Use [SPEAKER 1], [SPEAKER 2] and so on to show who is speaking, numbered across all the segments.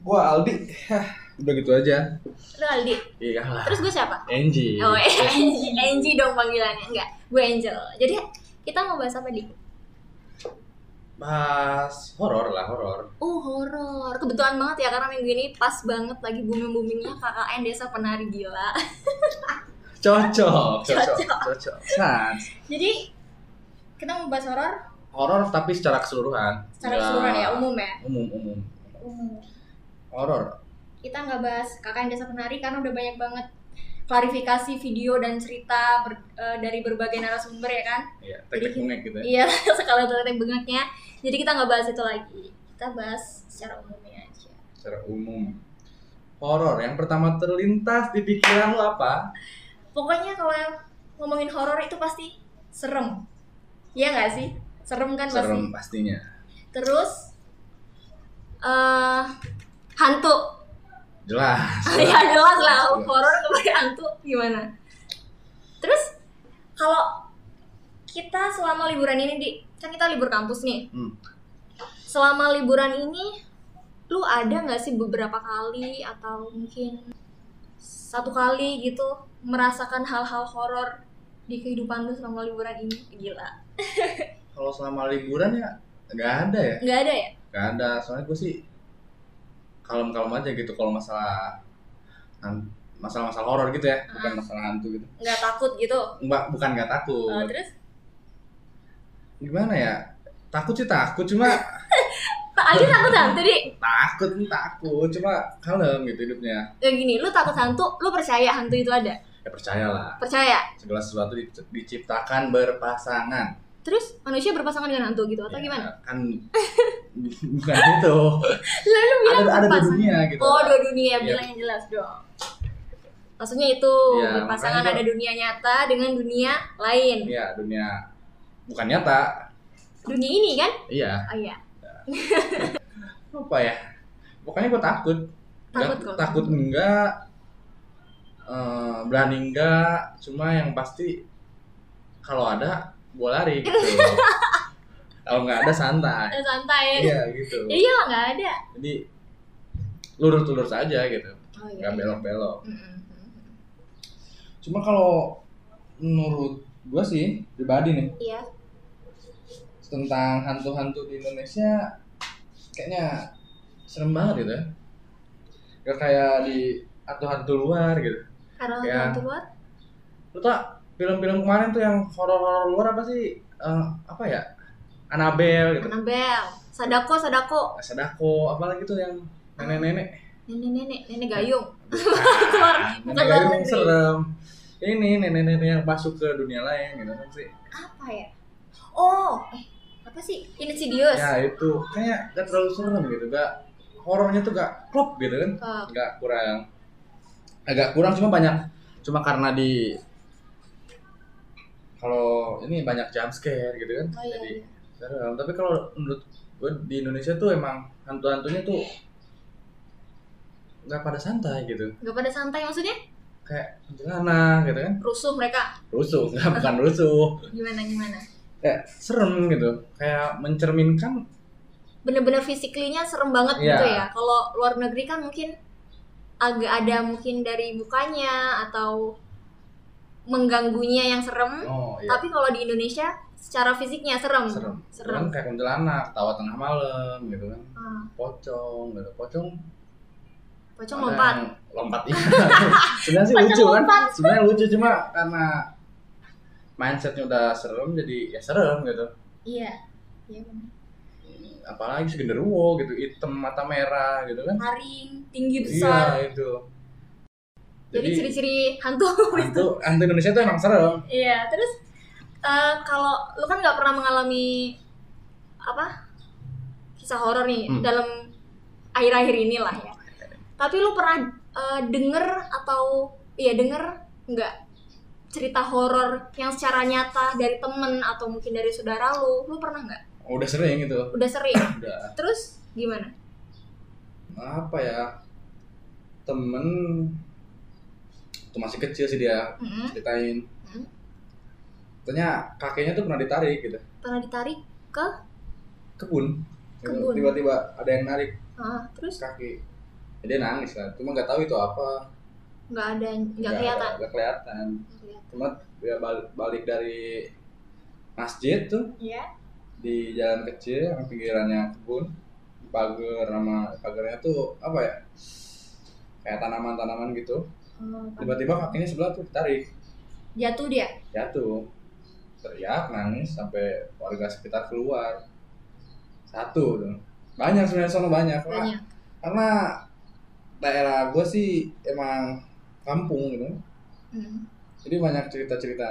[SPEAKER 1] Gua Aldi. Hah, Udah gitu aja.
[SPEAKER 2] Lu Aldi.
[SPEAKER 1] Iya lah.
[SPEAKER 2] Terus gue siapa?
[SPEAKER 1] Angie.
[SPEAKER 2] Oh, Angie. Angie dong panggilannya. Enggak, gue Angel. Jadi kita mau bahas apa, Di?
[SPEAKER 1] Mas horor lah horor.
[SPEAKER 2] Oh, horor. Kebetulan banget ya karena minggu ini pas banget lagi booming-boomingnya KKN Desa Penari Gila.
[SPEAKER 1] Cocok.
[SPEAKER 2] Cocok.
[SPEAKER 1] Cocok. Sans.
[SPEAKER 2] Jadi kita mau bahas horor
[SPEAKER 1] Horor tapi secara keseluruhan. Iya.
[SPEAKER 2] secara keseluruhan ya, umum ya.
[SPEAKER 1] Umum umum.
[SPEAKER 2] Umum.
[SPEAKER 1] Horor.
[SPEAKER 2] Kita nggak bahas KKN Desa Penari karena udah banyak banget klarifikasi video dan cerita ber- eh, dari berbagai narasumber ya kan?
[SPEAKER 1] Iya. Teknik mengek gitu. ya.
[SPEAKER 2] Iya, sekali terlihat bengeknya. Jadi kita nggak bahas itu lagi. Kita bahas secara umumnya aja.
[SPEAKER 1] Secara umum. Horor yang pertama terlintas di pikiran lo apa?
[SPEAKER 2] Pokoknya kalau ngomongin horor itu pasti serem. Iya nggak sih? Serem kan pasti.
[SPEAKER 1] Serem pastinya.
[SPEAKER 2] Terus eh hantu.
[SPEAKER 1] Jelas.
[SPEAKER 2] ya jelas lah horor kemudian hantu gimana? Terus kalau kita selama liburan ini di kan kita libur kampus nih.
[SPEAKER 1] Hmm.
[SPEAKER 2] selama liburan ini lu ada nggak sih beberapa kali atau mungkin satu kali gitu merasakan hal-hal horor di kehidupan lu selama liburan ini gila
[SPEAKER 1] Kalau selama liburan ya nggak ada ya.
[SPEAKER 2] nggak ada ya
[SPEAKER 1] Gak ada, soalnya gue sih kalem-kalem aja gitu kalau masalah han- masalah-masalah horor gitu ya,
[SPEAKER 2] Ah.
[SPEAKER 1] bukan masalah hantu gitu.
[SPEAKER 2] nggak takut gitu
[SPEAKER 1] Mbak, bukan gak
[SPEAKER 2] Eh,
[SPEAKER 1] takut.
[SPEAKER 2] terus
[SPEAKER 1] Gimana ya? Takut sih takut, cuma
[SPEAKER 2] pak Adi takut hantu di
[SPEAKER 1] takut hmm, takut, cuma kalem gitu hidupnya.
[SPEAKER 2] ya gini lu takut hantu lu percaya hantu itu ada
[SPEAKER 1] Ya percayalah,
[SPEAKER 2] percaya
[SPEAKER 1] segala sesuatu di- diciptakan berpasangan.
[SPEAKER 2] terus manusia berpasangan dengan hantu gitu atau
[SPEAKER 1] Ya,
[SPEAKER 2] gimana
[SPEAKER 1] Kan bukan gitu.
[SPEAKER 2] lalu bilang
[SPEAKER 1] ada ada dua
[SPEAKER 2] Iya, berpasangan.
[SPEAKER 1] dunia gitu.
[SPEAKER 2] oh dua dunia
[SPEAKER 1] Iya.
[SPEAKER 2] bilang yang jelas dong maksudnya itu
[SPEAKER 1] Iya,
[SPEAKER 2] berpasangan
[SPEAKER 1] makanya
[SPEAKER 2] ada dunia nyata dengan dunia lain
[SPEAKER 1] Iya, dunia bukan nyata.
[SPEAKER 2] dunia ini kan
[SPEAKER 1] Iya.
[SPEAKER 2] oh iya
[SPEAKER 1] apa ya pokoknya gue takut
[SPEAKER 2] Takut
[SPEAKER 1] Nggak-
[SPEAKER 2] kok.
[SPEAKER 1] takut enggak eh, berani enggak cuma yang pasti kalau ada gue lari gitu kalau nggak ada santai
[SPEAKER 2] Eh, santai ya.
[SPEAKER 1] iya gitu
[SPEAKER 2] Ya iyalah nggak ada.
[SPEAKER 1] jadi lurus-lurus aja gitu
[SPEAKER 2] Oh
[SPEAKER 1] nggak belok-belok
[SPEAKER 2] Mm-mm.
[SPEAKER 1] cuma kalau menurut gue sih pribadi nih
[SPEAKER 2] Iya.
[SPEAKER 1] tentang hantu-hantu di Indonesia kayaknya serem banget gitu ya gak kayak di hantu-hantu luar gitu
[SPEAKER 2] Karena
[SPEAKER 1] Ya.
[SPEAKER 2] orang tua.
[SPEAKER 1] lu tau film-film kemarin tuh yang horor-horor luar apa sih Eh, apa ya Annabelle gitu
[SPEAKER 2] Anabel, Sadako, Sadako,
[SPEAKER 1] Sadako apalagi tuh yang nenek-nenek
[SPEAKER 2] nenek-nenek, nenek gayung.
[SPEAKER 1] Bukan,
[SPEAKER 2] bukan
[SPEAKER 1] nenek
[SPEAKER 2] luar
[SPEAKER 1] gayung
[SPEAKER 2] negeri.
[SPEAKER 1] serem ini nenek-nenek yang masuk ke dunia lain gitu kan sih
[SPEAKER 2] Apa ya? Oh, eh, apa sih? Insidious.
[SPEAKER 1] ya itu kayak gak terlalu serem gitu gak horornya tuh gak klop gitu kan
[SPEAKER 2] Eh,
[SPEAKER 1] agak kurang agak kurang cuma banyak cuma karena di kalau ini banyak jump scare gitu kan
[SPEAKER 2] oh iya.
[SPEAKER 1] jadi
[SPEAKER 2] iya.
[SPEAKER 1] serem tapi kalau menurut gue di Indonesia tuh emang hantu-hantunya tuh nggak pada santai gitu
[SPEAKER 2] Nggak pada santai maksudnya?
[SPEAKER 1] kayak celana gitu kan
[SPEAKER 2] Rusuh mereka.
[SPEAKER 1] rusuh nggak bukan rusuh
[SPEAKER 2] Gimana gimana?
[SPEAKER 1] kayak serem gitu kayak mencerminkan
[SPEAKER 2] Bener-bener fisiklinya serem banget
[SPEAKER 1] Iya.
[SPEAKER 2] gitu ya. Kalau luar negeri kan mungkin agak ada mungkin dari mukanya atau mengganggunya yang serem.
[SPEAKER 1] oh iya
[SPEAKER 2] Hmm? Tapi kalau di Indonesia secara fisiknya serem.
[SPEAKER 1] serem Kan
[SPEAKER 2] Serem.
[SPEAKER 1] kayak kuntilanak tawa tengah malam gitu kan
[SPEAKER 2] Ah,
[SPEAKER 1] pocong gitu pocong
[SPEAKER 2] pocong
[SPEAKER 1] Ada
[SPEAKER 2] lompat.
[SPEAKER 1] yang lompat iya sebenarnya sih
[SPEAKER 2] Pocong
[SPEAKER 1] lucu kan
[SPEAKER 2] lompat.
[SPEAKER 1] sebenarnya lucu cuma karena mindsetnya udah serem jadi ya serem gitu
[SPEAKER 2] Iya. Iya benar.
[SPEAKER 1] apalagi si genderuwo gitu hitam mata merah gitu kan
[SPEAKER 2] Haring, tinggi besar.
[SPEAKER 1] iya itu
[SPEAKER 2] Jadi
[SPEAKER 1] jadi
[SPEAKER 2] ciri-ciri hantu gitu.
[SPEAKER 1] hantu hantu Indonesia tuh emang serem
[SPEAKER 2] Iya, terus eh, kalau lu kan nggak pernah mengalami apa? kisah horor nih
[SPEAKER 1] Hmm.
[SPEAKER 2] dalam akhir-akhir inilah ya. Tapi lu pernah eh, denger atau iya denger nggak cerita horor yang secara nyata dari temen atau mungkin dari saudara lu, lu pernah nggak?
[SPEAKER 1] udah sering gitu
[SPEAKER 2] Udah sering.
[SPEAKER 1] udah
[SPEAKER 2] Terus gimana?
[SPEAKER 1] apa ya temen tuh masih kecil sih dia
[SPEAKER 2] Mm-mm.
[SPEAKER 1] ceritain
[SPEAKER 2] Hmm.
[SPEAKER 1] katanya kakeknya tuh pernah ditarik gitu
[SPEAKER 2] pernah ditarik ke
[SPEAKER 1] kebun Gitu,
[SPEAKER 2] Kebun.
[SPEAKER 1] tiba-tiba ada yang narik
[SPEAKER 2] ah, terus
[SPEAKER 1] kaki Ya, dia nangis lah cuma nggak tahu itu apa
[SPEAKER 2] nggak ada nggak kelihatan
[SPEAKER 1] nggak kelihatan
[SPEAKER 2] Nggak kelihatan.
[SPEAKER 1] cuma dia bal- balik dari masjid tuh
[SPEAKER 2] Iya.
[SPEAKER 1] di jalan kecil yang pinggirannya kebun pagar nama pagarnya tuh apa ya kayak tanaman-tanaman gitu
[SPEAKER 2] Oh,
[SPEAKER 1] tiba-tiba kakinya sebelah tuh ditarik
[SPEAKER 2] jatuh dia
[SPEAKER 1] jatuh teriak nangis sampai warga sekitar keluar satu tuh banyak sebenarnya sono banyak, Karena-
[SPEAKER 2] banyak
[SPEAKER 1] karena daerah gue sih emang kampung gitu
[SPEAKER 2] Hmm.
[SPEAKER 1] jadi banyak cerita-cerita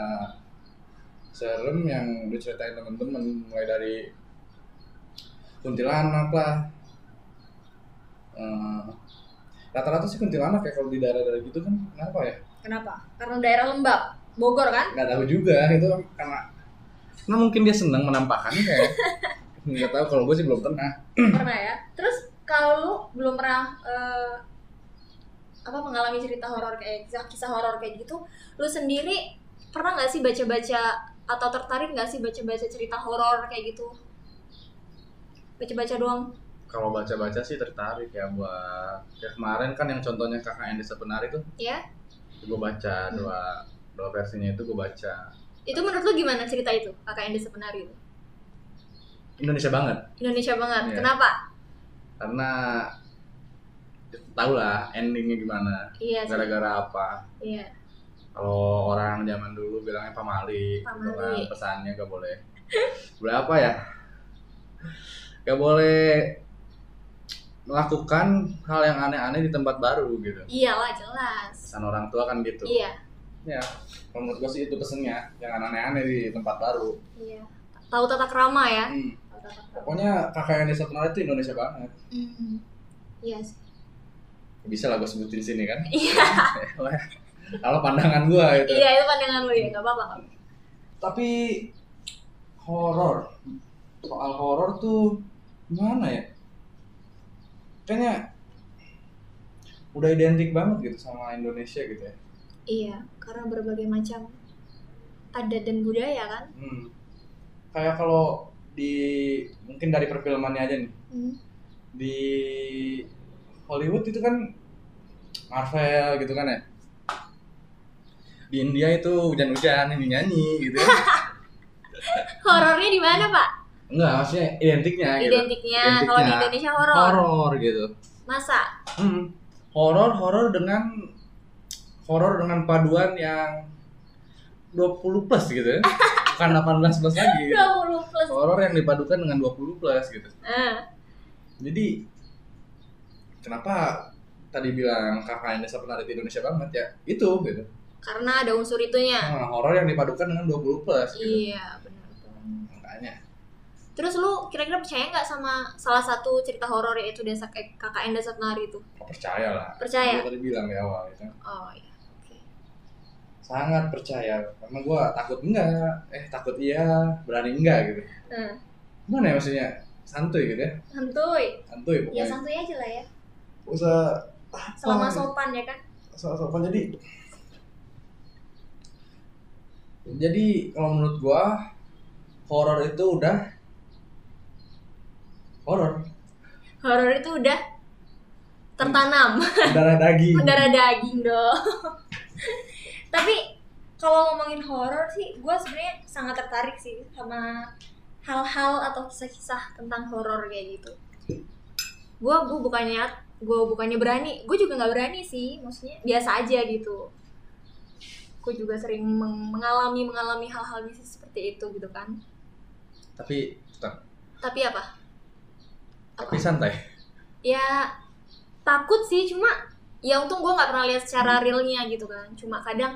[SPEAKER 1] serem yang diceritain temen-temen mulai dari kuntilanak lah Eh, rata-rata sih kuntilanak ya kalau di daerah-daerah gitu kan kenapa ya
[SPEAKER 2] kenapa karena daerah lembab Bogor kan
[SPEAKER 1] nggak tahu juga gitu karena karena mungkin dia senang menampakkan kayak nggak tahu kalau gue sih belum pernah
[SPEAKER 2] pernah ya terus kalau lu belum pernah eh, apa mengalami cerita horor kayak kisah, kisah horor kayak gitu lu sendiri pernah nggak sih baca-baca atau tertarik nggak sih baca-baca cerita horor kayak gitu baca-baca doang
[SPEAKER 1] kalau baca-baca sih tertarik ya buat ya kemarin kan yang contohnya kakak yang desa benar itu
[SPEAKER 2] ya
[SPEAKER 1] gue baca dua dua versinya itu gue baca
[SPEAKER 2] itu menurut lu gimana cerita itu kakak Ende sebenarnya itu
[SPEAKER 1] Indonesia banget
[SPEAKER 2] Indonesia banget
[SPEAKER 1] Iya.
[SPEAKER 2] kenapa
[SPEAKER 1] karena tau lah endingnya gimana
[SPEAKER 2] iya sih.
[SPEAKER 1] gara-gara apa
[SPEAKER 2] iya
[SPEAKER 1] kalau orang zaman dulu bilangnya pamali, gitu kan
[SPEAKER 2] Pamali.
[SPEAKER 1] pesannya gak boleh boleh apa ya gak boleh melakukan hal yang aneh-aneh di tempat baru gitu
[SPEAKER 2] iyalah jelas
[SPEAKER 1] pesan orang tua kan gitu
[SPEAKER 2] iya
[SPEAKER 1] ya kalau menurut gue sih itu pesennya jangan aneh-aneh di tempat baru
[SPEAKER 2] iya tahu tata krama ya
[SPEAKER 1] Hmm.
[SPEAKER 2] Tahu tata krama.
[SPEAKER 1] pokoknya kakak yang desa kenal itu Indonesia banget
[SPEAKER 2] Hmm. iya sih
[SPEAKER 1] bisa lah gue sebutin sini kan
[SPEAKER 2] iya
[SPEAKER 1] kalau pandangan gue gitu
[SPEAKER 2] iya itu pandangan lu ya nggak apa-apa nggak apa-apa.
[SPEAKER 1] tapi horor soal horor tuh gimana ya kayaknya udah identik banget gitu sama Indonesia gitu ya
[SPEAKER 2] iya karena berbagai macam adat dan budaya kan
[SPEAKER 1] hmm. kayak kalau di mungkin dari perfilmannya aja nih
[SPEAKER 2] Hmm.
[SPEAKER 1] di Hollywood itu kan Marvel gitu kan ya di India itu hujan-hujan ini nyanyi gitu ya.
[SPEAKER 2] horornya di mana pak
[SPEAKER 1] enggak maksudnya identiknya gitu
[SPEAKER 2] identiknya kalau di
[SPEAKER 1] Identiknya.
[SPEAKER 2] Indonesia horor
[SPEAKER 1] horor gitu
[SPEAKER 2] masa
[SPEAKER 1] Hmm. Horor horor dengan horor dengan paduan yang 20 plus gitu ya. Bukan 18 plus lagi. gitu.
[SPEAKER 2] 20 plus
[SPEAKER 1] Horor yang dipadukan dengan 20 plus gitu.
[SPEAKER 2] Eh,
[SPEAKER 1] Jadi kenapa tadi bilang kakak Indonesia penarik di Indonesia banget ya? Itu gitu.
[SPEAKER 2] karena ada unsur itunya
[SPEAKER 1] Nah, horor yang dipadukan dengan 20 plus gitu.
[SPEAKER 2] iya benar
[SPEAKER 1] Hmm, Makanya
[SPEAKER 2] Terus lu kira-kira percaya nggak sama salah satu cerita horor yaitu desa Ke- KKN Desa Penari itu?
[SPEAKER 1] oh, percaya lah.
[SPEAKER 2] Percaya?
[SPEAKER 1] Gua tadi bilang di awal gitu.
[SPEAKER 2] Oh iya. Oke.
[SPEAKER 1] Sangat percaya. Karena gua takut enggak, eh takut iya, berani enggak gitu.
[SPEAKER 2] Nah,
[SPEAKER 1] Gimana ya maksudnya? Santuy gitu ya.
[SPEAKER 2] santuy.
[SPEAKER 1] santuy
[SPEAKER 2] Ya
[SPEAKER 1] pokoknya
[SPEAKER 2] santuy aja lah ya.
[SPEAKER 1] usah
[SPEAKER 2] Selama
[SPEAKER 1] Oh.
[SPEAKER 2] sopan ya kan.
[SPEAKER 1] sopan jadi jadi kalau menurut gua horor itu udah horor
[SPEAKER 2] Horor itu udah tertanam
[SPEAKER 1] darah daging
[SPEAKER 2] mendarah daging dong. Tapi kalau ngomongin horor sih, gue sebenarnya sangat tertarik sih sama hal-hal atau kisah-kisah tentang horor kayak gitu. Gue gue bukannya gue bukannya berani, gue juga nggak berani sih, maksudnya biasa aja gitu. Gue juga sering meng- mengalami mengalami hal-hal mistis seperti itu gitu kan.
[SPEAKER 1] tapi tetap
[SPEAKER 2] Tapi apa?
[SPEAKER 1] tapi santai
[SPEAKER 2] ya takut sih cuma ya untung gue nggak pernah lihat secara realnya gitu kan cuma kadang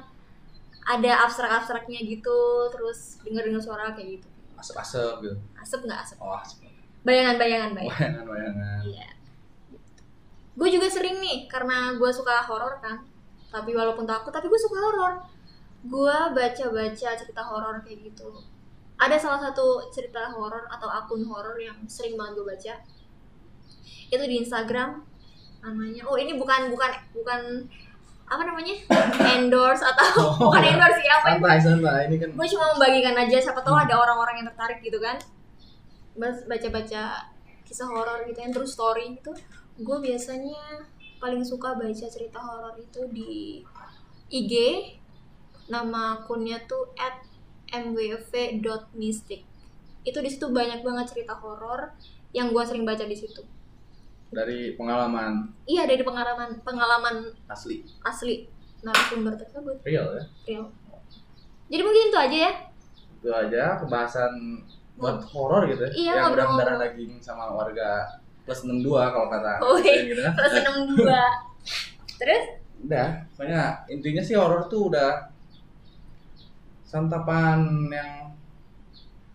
[SPEAKER 2] ada abstrak-abstraknya gitu terus denger-denger suara kayak gitu
[SPEAKER 1] asap-asap gitu
[SPEAKER 2] asap nggak asap
[SPEAKER 1] oh asap
[SPEAKER 2] bayangan-bayangan bayangan
[SPEAKER 1] bayangan bayangan
[SPEAKER 2] iya gue juga sering nih karena gue suka horor kan tapi walaupun takut tapi gue suka horor gue baca-baca cerita horor kayak gitu ada salah satu cerita horor atau akun horor yang sering banget gue baca itu di Instagram namanya oh ini bukan bukan bukan apa namanya endorse atau
[SPEAKER 1] Oh,
[SPEAKER 2] bukan
[SPEAKER 1] ya.
[SPEAKER 2] endorse ya apa
[SPEAKER 1] santai santai ini kan
[SPEAKER 2] gue cuma membagikan aja siapa tahu ada orang-orang yang tertarik gitu kan Bas- baca-baca kisah horor gitu yang terus story gitu gue biasanya paling suka baca cerita horor itu di IG nama akunnya tuh at mwv.mystic itu di situ banyak banget cerita horor yang gua sering baca di situ
[SPEAKER 1] dari pengalaman
[SPEAKER 2] iya dari pengalaman pengalaman
[SPEAKER 1] asli
[SPEAKER 2] asli narasumber tersebut
[SPEAKER 1] real ya
[SPEAKER 2] real jadi mungkin itu aja ya
[SPEAKER 1] itu aja kebahasan buat horor gitu ya
[SPEAKER 2] Iya,
[SPEAKER 1] yang udah
[SPEAKER 2] ngobrol-ngobrol.
[SPEAKER 1] mendarah daging sama warga plus 62 kalau kata
[SPEAKER 2] Oh, iya.
[SPEAKER 1] gitu kan
[SPEAKER 2] plus enam dua terus
[SPEAKER 1] udah pokoknya intinya sih horor tuh udah santapan yang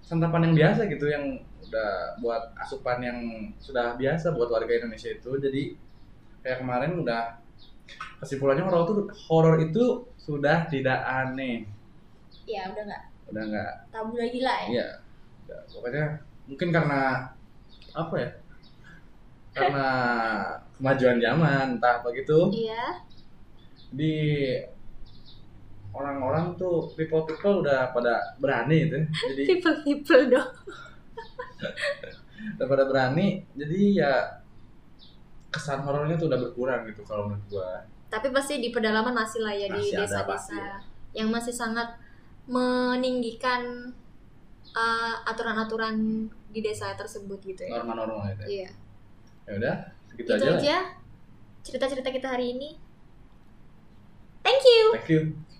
[SPEAKER 1] santapan yang biasa gitu yang udah buat asupan yang sudah biasa buat warga Indonesia itu jadi kayak kemarin udah kesimpulannya horor tuh horor itu sudah tidak aneh
[SPEAKER 2] ya udah nggak
[SPEAKER 1] udah nggak
[SPEAKER 2] tabu lagi lah ya
[SPEAKER 1] Iya. Ya, pokoknya mungkin karena apa ya? Karena kemajuan zaman, entah gitu, begitu.
[SPEAKER 2] iya
[SPEAKER 1] Di orang-orang tuh people people udah pada berani itu. Jadi
[SPEAKER 2] people people dong
[SPEAKER 1] udah pada berani, jadi ya kesan horornya tuh udah berkurang gitu kalau menurut gua.
[SPEAKER 2] tapi pasti di pedalaman masih lah ya di
[SPEAKER 1] Masih ada,
[SPEAKER 2] desa-desa
[SPEAKER 1] pasti ya.
[SPEAKER 2] yang masih sangat meninggikan eh, aturan-aturan di desa tersebut gitu ya
[SPEAKER 1] Norma-norma gitu.
[SPEAKER 2] iya
[SPEAKER 1] Ya udah, segitu
[SPEAKER 2] itu
[SPEAKER 1] aja. lah.
[SPEAKER 2] aja cerita-cerita kita hari ini thank you
[SPEAKER 1] Thank you.